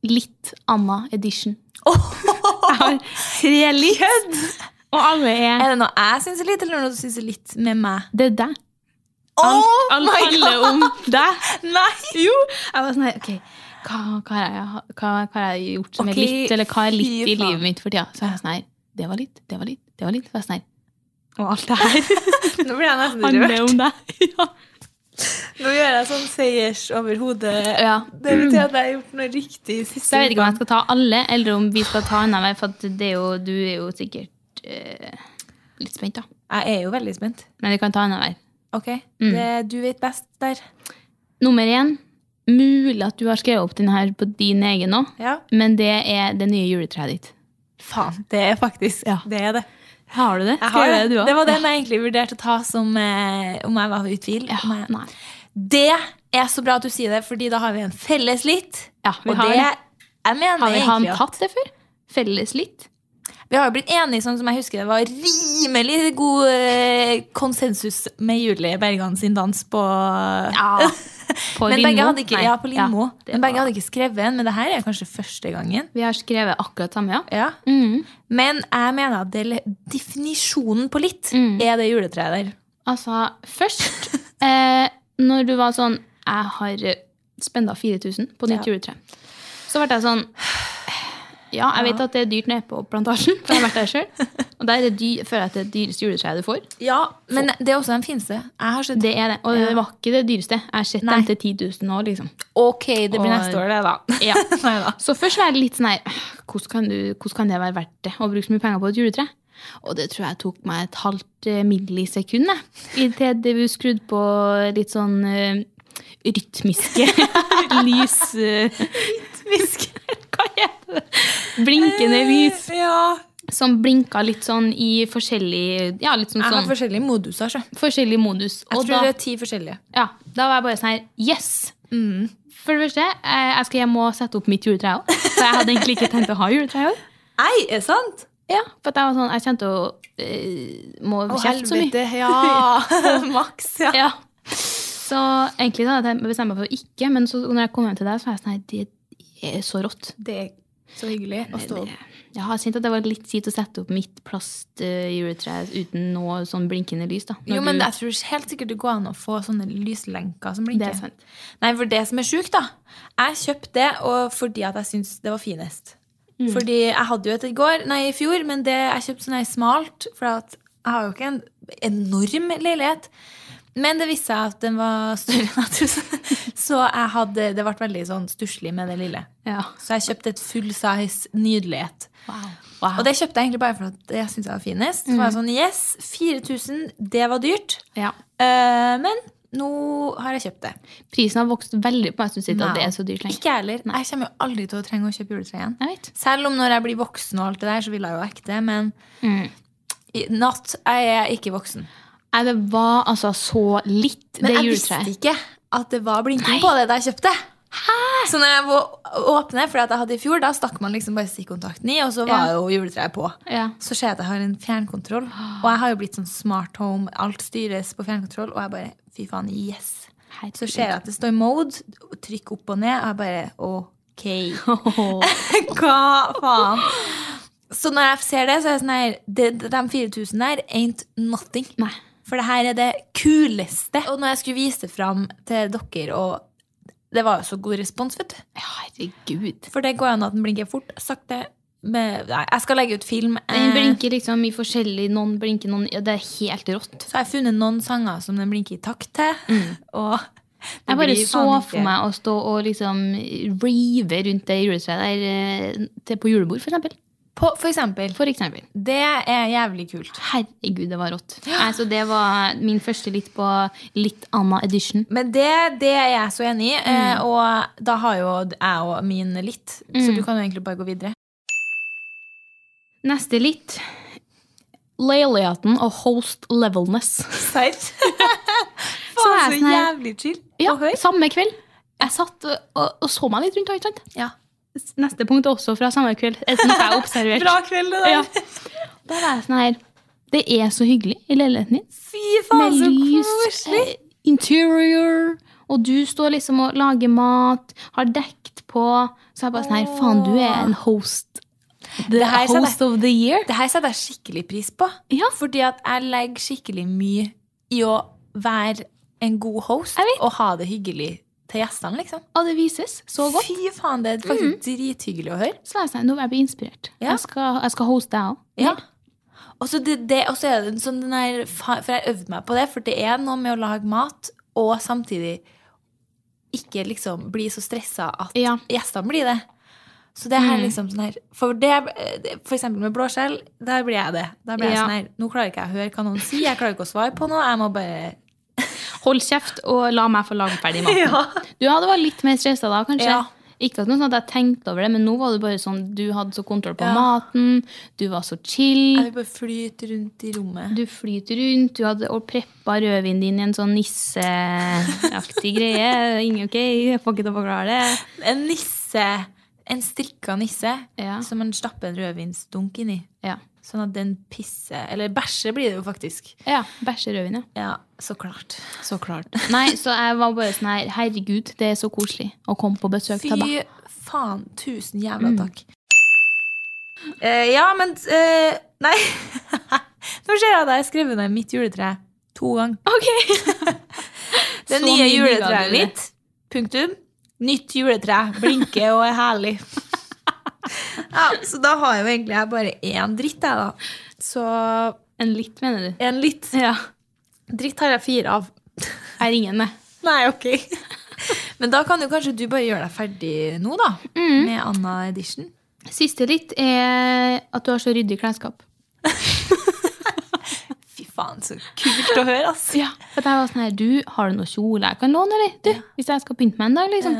S3: litt Anna edition. Jeg har tre litt, og alle er
S2: Er det noe jeg syns er litt, eller noe du syns er litt med meg?
S3: Det er deg.
S2: Alt,
S3: Alt handler om deg.
S2: Nei!
S3: Jo. Jeg var sånn her, ok, hva, hva, har jeg, hva, hva har jeg gjort som
S2: Ok,
S3: er litt, eller hva er litt
S2: fy
S3: i
S2: faen.
S3: livet mitt for tida? Så jeg var sånn her, det var litt, det var litt, det var litt. Så jeg var sånn her, og alt det her
S2: Nå blir jeg nesten
S3: handler
S2: rørt.
S3: om deg. Ja.
S2: Nå gjør jeg sånn seiers over hodet.
S3: Ja.
S2: Det betyr at jeg har gjort noe riktig. i siste
S3: Så jeg vet ikke om
S2: uka.
S3: jeg skal ta alle, eller om vi skal ta en av hver, for at det er jo, du er jo sikkert eh, litt spent, da.
S2: Jeg er jo veldig spent.
S3: Men vi kan ta en av hver.
S2: Ok,
S3: Mm.
S2: det, du vet best der.
S3: Nummer én. Mulig at du har skrevet opp den her på din egen òg,
S2: Ja.
S3: men det er det nye juletreet ditt.
S2: Faen, det er faktisk det. er det.
S3: Har du det?
S2: Jeg har det.
S3: du
S2: det var den jeg egentlig vurderte å ta som eh, om jeg var i tvil.
S3: Ja,
S2: Om jeg-
S3: nei.
S2: Det er så bra at du sier det, Fordi da har vi en felles litt.
S3: Ja, vi
S2: og
S3: har
S2: det,
S3: det.
S2: jeg mener
S3: Har vi han
S2: egentlig at-
S3: tatt det før? Felles litt?
S2: Vi har jo blitt enige, sånn som jeg husker det var rimelig god eh, konsensus med Julie Bergan sin dans på
S3: Ja. På
S2: men
S3: Lindmo?
S2: begge hadde ikke,
S3: Nei.
S2: ja, på Lindmo.
S3: Ja, det
S2: men begge
S3: var-
S2: hadde ikke skrevet en, men det her er kanskje første gangen.
S3: Vi har skrevet akkurat samme, ja.
S2: Ja.
S3: Mm.
S2: Men jeg mener at det, definisjonen på litt er det juletreet der.
S3: Altså, først eh, Når du var sånn Jeg har eh, spenda 4000 på nytt juletre. Så ble jeg sånn Ja, jeg vet at det er dyrt nede på plantasjen, for jeg har vært der sjøl. Og der er det dy- føler jeg at det er det dyreste juletreet du får.
S2: Ja, Men det er også den fineste. Jeg har sett
S3: Det er det. Og det var ikke det dyreste. Jeg har sett
S2: Nei.
S3: dem til 10 000 nå, liksom.
S2: Ok, det blir
S3: Og-
S2: neste år, det, da.
S3: Ja.
S2: Neida.
S3: Så først var jeg litt sånn her «Åh, hvordan, kan du- hvordan kan det være verdt det å bruke så mye penger på et juletre? Og det tror jeg tok meg et halvt eh, millisekund jeg, inntil det vi skrudde på litt sånn eh, rytmiske lys eh, Hva heter det? Blinkende
S2: Eh.
S3: lys
S2: Ja.
S3: som blinka litt sånn i forskjellig Ja, litt sånn,
S2: Jeg har
S3: sånn
S2: forskjellige moduser. Så. Jeg
S3: forskjellig modus. Og
S2: tror
S3: da,
S2: det er ti forskjellige. Mm.
S3: ja, da var jeg bare sånn her Yes! For det første, eh, jeg, skal, jeg må sette opp mitt juletre òg. For jeg hadde egentlig ikke tenkt å ha juletre i år.
S2: Nei, er det sant?
S3: Ja, for at jeg var sånn, jeg kjente å eh, må
S2: Å,
S3: kjefte så mye.
S2: helvete. Ja. Maks, ja.
S3: Ja. Så egentlig da, hadde jeg bestemt meg for ikke, men så når jeg kom hjem til deg, så var jeg sånn Nei, det er så rått.
S2: Det er så hyggelig å stå opp.
S3: Jeg har kjent at det var litt kjipt å sette opp mitt plastjuletre uten noe sånn blinkende lys. da. Når
S2: Jo, men
S3: du-
S2: jeg tror helt sikkert det går an å få sånne lyslenker som blinker.
S3: Det er sant.
S2: Nei, for det som er sjukt, da. Jeg kjøpte det og fordi at jeg syntes det var finest. Fordi jeg hadde jo et i går, nei, i fjor, men det jeg kjøpte sånn her smalt. For at jeg har jo ikke en enorm leilighet. Men det viste seg at den var større enn jeg trodde. Så jeg hadde, det ble veldig sånn stusslig med det lille.
S3: Ja.
S2: Så jeg kjøpte et full size nydelighet. Og det kjøpte jeg egentlig bare for at jeg syntes det var finest. Så var jeg sånn, yes, 4000, det var dyrt.
S3: Mhm. ja.
S2: Eh, men nå har jeg kjøpt det.
S3: Prisen har vokst veldig på meg, syns ikke at det
S2: Nei.
S3: er så dyrt lenger.
S2: Ikke jeg heller. Jeg kommer jo aldri til å trenge å kjøpe juletre igjen.
S3: Jeg vet.
S2: Selv om når jeg blir voksen, og alt det der, så vil jeg jo ha ekte. Men
S3: Mm.
S2: i natt jeg er jeg ikke voksen.
S3: Nei, det var altså så litt,
S2: Men
S3: det
S2: jeg
S3: juletreet.
S2: visste ikke at det var blinking på det da jeg kjøpte. Så når jeg var åpne, for at jeg hadde i fjor, da stakk man liksom bare stikkontakten i, og så var jo juletreet på.
S3: Ja.
S2: Så ser jeg at jeg har en fjernkontroll, og jeg har jo blitt sånn smart home, alt styres på fjernkontroll, og jeg bare, fy faen, yes.
S3: Herregud.
S2: Så ser jeg at det står mode, trykk opp og ned, og jeg bare, ok. Hva faen? Så når jeg ser det, så er jeg sånn her De, de 4000 der ain't nothing.
S3: Nei.
S2: For det her er det kuleste. Og når jeg skulle vise det fram til dere, og det var jo så god respons, vet du.
S3: Herregud.
S2: For det går an at den blinker fort, sakte med, Nei, jeg skal legge ut film.
S3: Den
S2: eh,
S3: blinker liksom i forskjellig, noen blinker, noen ja, Det er helt rått.
S2: Så har jeg funnet noen sanger som den blinker i takt til. Og det
S3: Mm. Jeg bare
S2: blir
S3: så
S2: faen
S3: for
S2: ikke-
S3: meg å stå og liksom rive rundt det juletreet der eh, til på julebord, for eksempel.
S2: På, For eksempel.
S3: For eksempel.
S2: Det er jævlig kult.
S3: Herregud, det var rått. Altså, det var min første litt på litt anna edition.
S2: Men det, det er jeg så enig i,
S3: Mm.
S2: eh, og da har jo jeg og min litt. Så
S3: Mm.
S2: du kan jo egentlig bare gå videre.
S3: Neste litt. Leiligheten og host levelness.
S2: Serr?
S3: Så er jeg sånn her-
S2: chill
S3: Ja,
S2: og høy.
S3: samme kveld. Jeg satt og, og, og så meg litt rundt. Ikke sant?
S2: Ja.
S3: Neste punkt er også fra samme kveld. Er sånn jeg observert.
S2: Bra kveld, det der.
S3: Ja. Da var jeg sånn her Det er så hyggelig i leiligheten din.
S2: Fy
S3: Med
S2: faen, så
S3: lys,
S2: koselig!
S3: eh, interior, og du står liksom og lager mat, har dekt på. Så jeg bare sånn her Faen, du er en host. The
S2: Det her ser
S3: host of the year.
S2: Det her setter jeg skikkelig pris på.
S3: Ja.
S2: Fordi at jeg legger skikkelig mye i å være en god host
S3: Jeg vet.
S2: og ha det hyggelig til gjestene, liksom.
S3: Og det vises så godt. Mm.
S2: Fy faen, det er faktisk drithyggelig å høre.
S3: Så jeg sånn, nå er jeg blitt inspirert.
S2: Ja.
S3: Jeg, skal, jeg skal hoste deg òg.
S2: Ja. Og så det, det, og så er det en sånn den her, fa- For jeg øvde meg på det, for det er noe med å lage mat og samtidig ikke liksom bli så stressa at
S3: Ja. Mm.
S2: gjestene blir det. Så det her liksom sånn her For, det, eh, for eksempel med blåskjell, der blir jeg det. Da blir jeg
S3: Ja.
S2: sånn her Nå klarer ikke jeg å høre hva noen sier, jeg klarer ikke å svare på noe, jeg må bare
S3: Hold kjeft og la meg få lage ferdig maten. Du hadde vært litt mer stressa da, kanskje?
S2: Ja.
S3: Ikke at noe sånn at jeg tenkte over det, men nå var det bare sånn du hadde så kontroll på maten, du var så
S2: Jeg
S3: chill,
S2: vil bare flyte rundt i rommet.
S3: du flyter rundt, du hadde og preppa rødvinen din i en sånn nisseaktig greie. Ingen ok, jeg får ikke til å forklare det.
S2: En nisse. En strikka nisse
S3: Ja.
S2: som man stapper en rødvinsdunk inni.
S3: Ja.
S2: Sånn at den pisser Eller bæsjer blir det jo faktisk.
S3: ja Bæsje rødvin, ja.
S2: Ja, så klart.
S3: Så klart. Nei, så jeg var bare sånn her, herregud, det er så koselig å komme på besøk
S2: Fy
S3: til deg.
S2: faen. Tusen jævla takk. Eh, ja, men eh, Nei. Nå ser jeg at jeg har skrevet ned mitt juletre to ganger. Det
S3: Så
S2: nye
S3: mye digger
S2: juletreet
S3: du det.
S2: mitt. Punktum. Nytt juletre. Blinker og er herlig. ja, så da har jo egentlig jeg bare én dritt, jeg, da. Så
S3: En litt, mener du?
S2: en litt.
S3: Ja.
S2: Dritt har jeg fire av.
S3: Jeg ringer henne.
S2: Nei, ok. Men da kan jo kanskje du bare gjøre deg ferdig nå, da.
S3: Mm.
S2: Med Anna Edition.
S3: Siste litt er at du har så ryddig klesskap.
S2: Fy faen, så kult å høre, ass.
S3: Ja, for det var sånn her, du, har du noe kjole jeg kan låne, eller? Du, hvis jeg skal pynte meg en dag, liksom.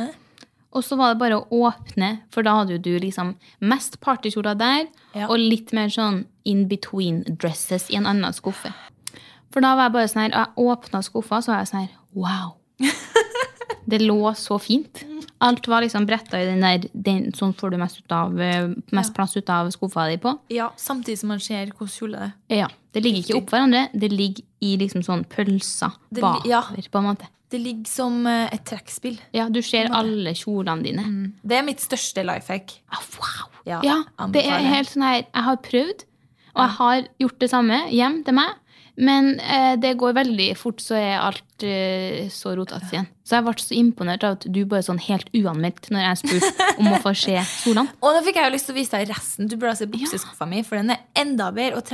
S3: Og så var det bare å åpne, for da hadde jo du liksom mest partykjoler der,
S2: Ja.
S3: og litt mer sånn in-between-dresses i en annen skuffe. For da var jeg bare sånn her, jeg åpnet skuffa, så var jeg sånn her, wow. Det lå så fint. Alt var liksom bretta i den der den, Sånn får du mest, ut av, eh, mest plass ut av skuffa di på.
S2: Ja, samtidig som man ser hvordan kjolen er.
S3: Ja, Det ligger ikke opp hverandre. Det ligger i liksom sånn pølser
S2: Det li-
S3: bakover,
S2: ja.
S3: på en måte.
S2: Det ligger som eh, et trekkspill.
S3: Ja, Du ser alle kjolene dine.
S2: Det er mitt største life hack.
S3: Ah, wow!
S2: Mm. Ja,
S3: Ja, det er
S2: anbefaler.
S3: helt sånn her Jeg har prøvd, og jeg har gjort det samme hjem til meg. Men eh, det går veldig fort, så er alt eh, så rotete igjen. Så jeg ble så imponert av at du bare sånn helt uanmeldt når jeg spurte om å få se solene.
S2: Og da fikk jeg jo lyst til å vise deg resten. Du burde se bukseskuffa mi, for den er enda bedre. Og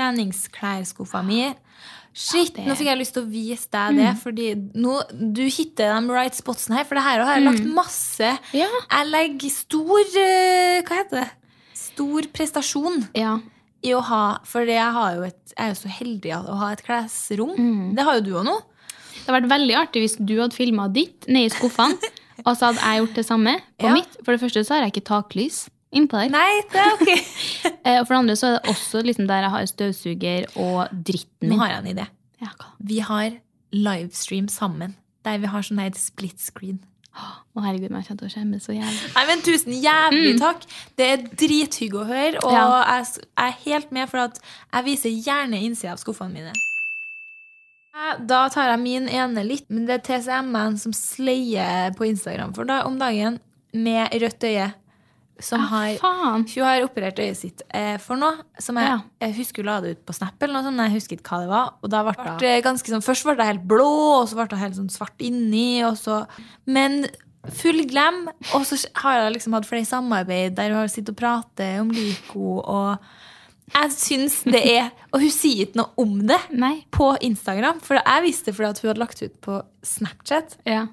S2: treningsklærskuffa mi. Shit, nå fikk jeg lyst til å vise deg
S3: Mm.
S2: det, fordi nå, du hitter de right spotsene her. For det her har jeg
S3: Mm.
S2: lagt masse
S3: Ja.
S2: Jeg legger stor eh, Hva heter det? Stor prestasjon
S3: Ja,
S2: i å ha For jeg, har jo et, jeg er jo så heldig å ha et klesrom. Det har jo du òg nå.
S3: Det hadde vært veldig artig hvis du hadde filma ditt nede i skuffene, og så hadde jeg gjort det samme på
S2: Ja.
S3: mitt. For det første så har jeg ikke taklys innpå der.
S2: Nei, det er ok.
S3: Eh, og for det andre så er det også liksom der jeg har støvsuger og dritten
S2: nå
S3: min.
S2: har jeg en idé.
S3: Ja, hva?
S2: Vi har livestream sammen. Der vi har sånn her split screen.
S3: Å herregud, men jeg kommer til å skjemme så jævlig.
S2: Nei, men Tusen jævlig takk! Det er drithygg å høre. Og
S3: Ja.
S2: jeg s- jeg er helt med, for at jeg viser gjerne innsida av skuffene mine. Eh, Da tar jeg min ene litt, men det er TCM-en som sleier på Instagram for da, om dagen med rødt øye. Som
S3: Ah,
S2: har
S3: Faen!
S2: hun har operert øyet sitt eh, for noe som jeg,
S3: Ja.
S2: jeg husker hun la det ut på Snap, eller noe sånt, men jeg husker ikke hva det var. Og da ble det ganske sånn, Først ble det helt blå, og så ble det helt sånn svart inni. Og så, men full glem. Og så har jeg liksom hatt flere samarbeid der hun har sittet og pratet om Lyco. Og jeg syns det er Og hun sier ikke noe om det
S3: Nei.
S2: på Instagram, for jeg visste det fordi at hun hadde lagt ut på Snapchat.
S3: Ja.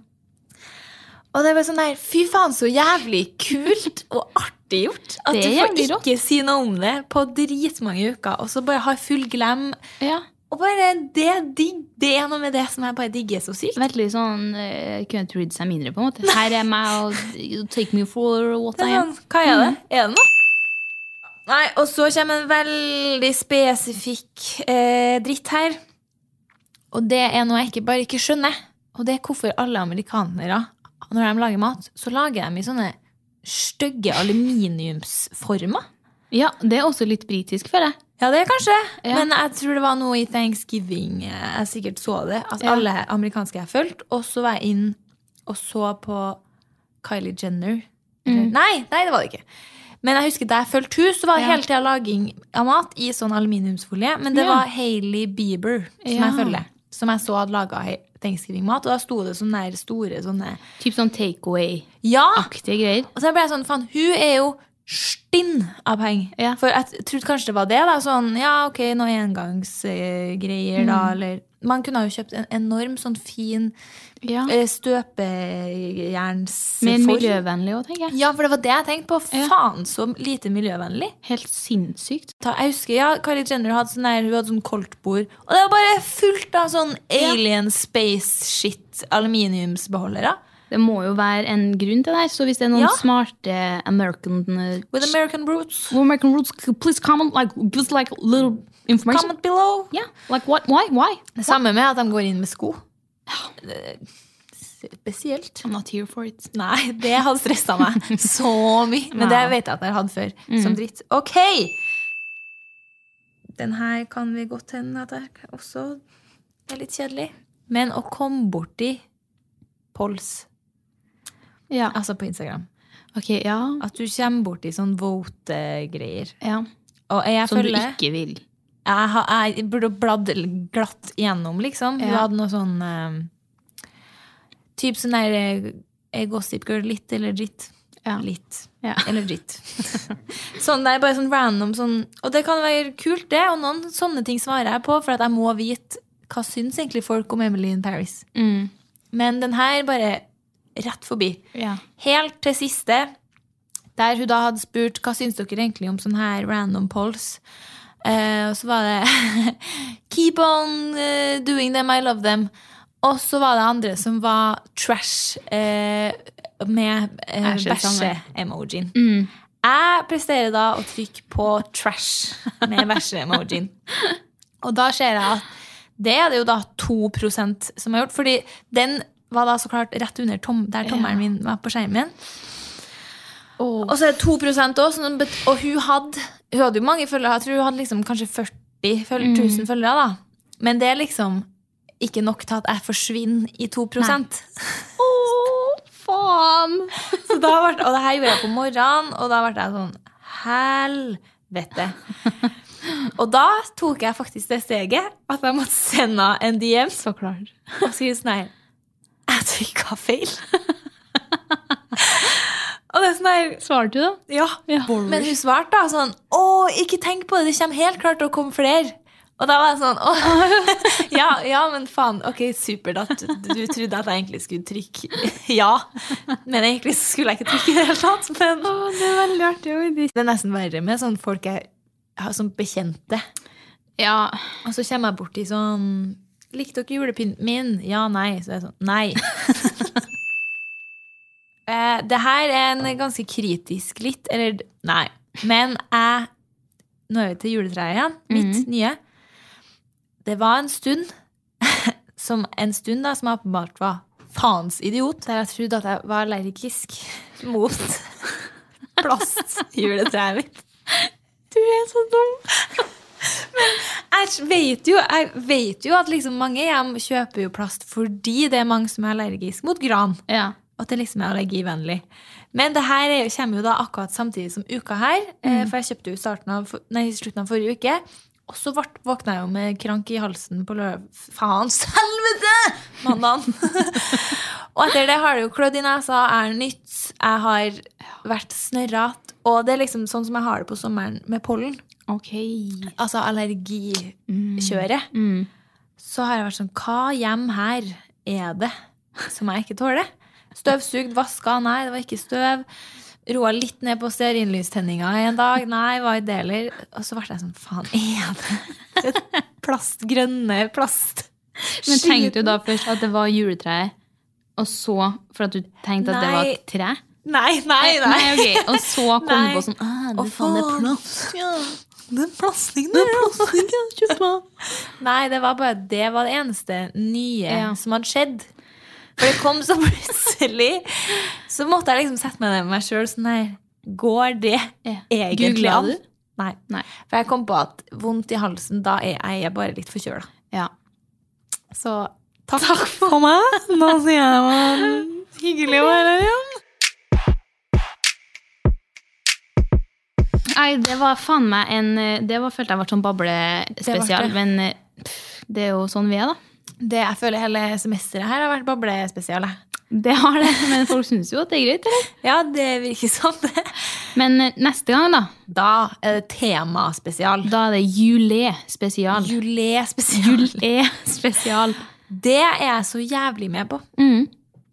S2: Og det var sånn der, fy faen, så jævlig kult og artig gjort. At
S3: Det
S2: du
S3: er
S2: får
S3: jævlig rått.
S2: ikke si noe om det på dritmange uker, og så bare har full glem.
S3: ja.
S2: Og bare det digg, det er noe med det som jeg bare digger så sykt.
S3: Veldig sånn uh, Kunne ikke brydd seg mindre, på en måte. Her er meg, og you take me for what
S2: Det
S3: I
S2: er
S3: am.
S2: sånn, Hva er det? Er det noe? Nei, og så kommer en veldig spesifikk eh, dritt her. Og det er noe jeg ikke, bare ikke skjønner. Og det er hvorfor alle amerikanere, når de lager mat, så lager de i sånne stygge aluminiumsformer.
S3: Ja, det er også litt britisk, føler jeg.
S2: Ja, det er kanskje.
S3: Ja.
S2: Men jeg tror det var noe i Thanksgiving eh, jeg sikkert så det. At
S3: Ja.
S2: alle amerikanske jeg fulgte. Og så var jeg inn og så på Kylie Jenner.
S3: Mm.
S2: Eller- Nei, nei, det var det ikke. Men jeg husker da jeg fulgte hun, så var det hele tida laging av mat i sånn aluminiumsfolie. Men det
S3: Ja.
S2: var Hailey Bieber som
S3: Ja.
S2: jeg følger. Som jeg så hadde laga Thanksgiving-mat. Og da sto det sånne der store sånne
S3: Typ sånn takeaway-aktige
S2: Ja!
S3: greier.
S2: Og så ble jeg sånn, faen, hun er jo stinn av penger.
S3: Ja.
S2: For jeg trodde kanskje det var det. da, Sånn, ja, ok, noe engangsgreier, da,
S3: Mm.
S2: eller Man kunne jo kjøpt en enorm sånn fin
S3: Ja.
S2: eh, støpejernsform.
S3: Mer miljøvennlig òg, tenker jeg.
S2: Ja, for det var det jeg tenkte på.
S3: Ja.
S2: Faen så lite miljøvennlig.
S3: Helt sinnssykt.
S2: Ta, jeg husker, ja, Kylie Jenner hadde sånn der, hun hadde sånn koldtbord. Og det var bare fullt av sånn alien space shit aluminiumsbeholdere.
S3: Det må jo være en grunn til det her, så hvis det er noen
S2: Ja.
S3: smarte American eh,
S2: With American roots.
S3: American roots, please comment, like, give us like little information.
S2: Comment below.
S3: Yeah, like what, why, why?
S2: Det samme med at de går inn med sko. Eh, Spesielt.
S3: I'm not here for it.
S2: Nei, det hadde stressa meg så mye. Mm. Men det vet jeg at jeg har hatt før. Som dritt. Ok! Den her kan vi godt hende at jeg også er litt kjedelig. Men å komme borti Pols,
S3: Ja,
S2: altså på Instagram
S3: ok, ja.
S2: At du kommer borti sånn vote-greier.
S3: ja.
S2: Og jeg
S3: Som du
S2: følger
S3: ikke vil.
S2: jeg, har, jeg burde bladd glatt igjennom, liksom. Hun
S3: Ja.
S2: hadde noe sånn eh, Typ sånn der eh, Gossip Girl litt eller dritt.
S3: Ja.
S2: Litt.
S3: Ja.
S2: Eller dritt. sånn der, bare sånn random sånn Og det kan være kult, det. Og noen sånne ting svarer jeg på, for at jeg må vite hva syns egentlig folk om Emily in Paris.
S3: Mm.
S2: Men den her bare rett forbi.
S3: Ja.
S2: Helt til siste, der hun da hadde spurt hva syns dere egentlig om sånn her random polls. Eh, og så var det Keep on eh, doing them, I love them. Og så var det andre som var trash eh, med eh,
S3: Æsje, samme.
S2: bæsje-emojien. Jeg presterer da å trykke på trash med bæsje-emojien. Og da ser jeg at det er det jo da 2 som har gjort. Fordi den var da så klart rett under tom, der tommelen min var på skjermen.
S3: Åh.
S2: Og så er det 2 også, sånn bet- og hun hadde, hun hadde jo mange følgere. Jeg tror hun hadde liksom kanskje 40 føl 000 følgere. da. Men det er liksom ikke nok til at jeg forsvinner i 2
S3: Faen!
S2: Så da ble, og det her gjorde jeg på morgenen, og da ble jeg sånn Helvete. Og da tok jeg faktisk det steget at jeg måtte sende henne en DM
S3: Så klart.
S2: og si sånn her Jeg trykka feil. og det er sånn her
S3: Svarte du, da?
S2: Ja.
S3: Ja.
S2: Men hun svarte da sånn Å, ikke tenk på det, det kommer helt klart til å komme flere. Og da var jeg sånn Å, ja, ja, men faen. Ok, supert at du du trodde at jeg egentlig skulle trykke ja. Men egentlig så skulle jeg ikke trykke i det hele tatt. Men
S3: det er veldig artig.
S2: det er nesten verre med sånne folk jeg har som bekjente.
S3: Ja.
S2: Og så kommer jeg borti sånn Likte dere julepynten min? Ja, nei. Så er jeg sånn Nei. eh, det her er en ganske kritisk litt Eller nei. Men jeg Nå er vi til juletreet igjen. Mitt nye. Det var en stund som en stund da, som jeg åpenbart var faens idiot, der jeg trodde at jeg var allergisk mot plastjuletreet mitt. Du er så dum! Jeg vet jo, jeg vet jo at liksom mange hjem kjøper jo plast fordi det er mange som er allergiske mot gran.
S3: ja.
S2: Og at det liksom er allergivennlig. Men det her er, jo- kommer jo da akkurat samtidig som uka her. eh, For jeg kjøpte jo i starten av, for- nei, i slutten av forrige uke. Og så vart- våkna jeg jo med krank i halsen på lørdag. Faens helvete! Mandagen. og etter det har det jo klødd i nesa, er nytt, jeg har vært snørrete. Og det er liksom sånn som jeg har det på sommeren med pollen
S3: Ok.
S2: altså allergikjøret, så har jeg vært sånn Hva hjem her er det som jeg ikke tåler? Støvsugd, vaska, nei, det var ikke støv. Roa litt ned på stearinlystenninga en dag. Nei, hva i det heller? Og så ble jeg sånn Faen, er det plast, grønne plast?
S3: Men tenkte du da først at det var juletreet, og så for at du tenkte at det var et tre?
S2: Nei, nei, nei.
S3: Nei, ok. Og så kom
S2: Nei.
S3: du på sånn ah,
S2: Å,
S3: det faen, det er
S2: faen.
S3: plast.
S2: Ja. Den plastingen der, altså. Nei, det var bare det var det eneste nye
S3: Ja.
S2: som hadde skjedd. For det kom så plutselig. Så måtte jeg liksom sette meg ned med meg sjøl sånn her Går det
S3: Ja.
S2: egentlig
S3: Googlet
S2: an?
S3: du?
S2: Nei.
S3: Nei.
S2: For jeg kom på at vondt i halsen, da er jeg er bare litt forkjøla.
S3: Ja.
S2: Så takk, for meg. Nå sier jeg det var hyggelig å være her igjen.
S3: Nei, det var faen meg en eh, Det var, følte jeg ble sånn
S2: Det ble
S3: bablespesial,
S2: det.
S3: men eh, pff, det er jo sånn vi er, da.
S2: Det jeg føler hele semesteret her har vært boblespesial. jeg.
S3: Det har det, men folk syns jo at det er greit, eller?
S2: Ja, det virker sånn, det.
S3: Men eh, neste gang, da,
S2: Da eh, er det temaspesial.
S3: da er det julé-spesial.
S2: Julé-spesial.
S3: Eh, Julé-spesial.
S2: Det er jeg så jævlig med på.
S3: Mm.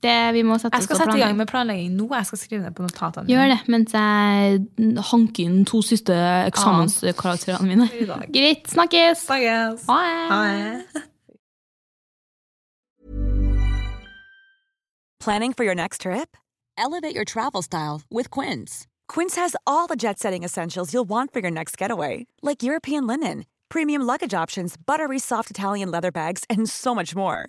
S3: Det vi må sette
S2: Jeg skal
S3: oss og
S2: sette i gang
S3: planlegge.
S2: med planlegging nå. Jeg skal skrive ned på notatene.
S3: Gjør det mens jeg hanker inn to siste eksamenskarakterene mine.
S2: I dag.
S3: Greit, snakkes!
S2: Snakkes.
S3: Ha det!
S2: Ha det.
S4: Planning for your next trip? Elevate your travel style with Quince. Quince has all the jet setting essentials you'll want for your next getaway, like European linen, premium luggage options, buttery soft Italian leather bags, and so much more.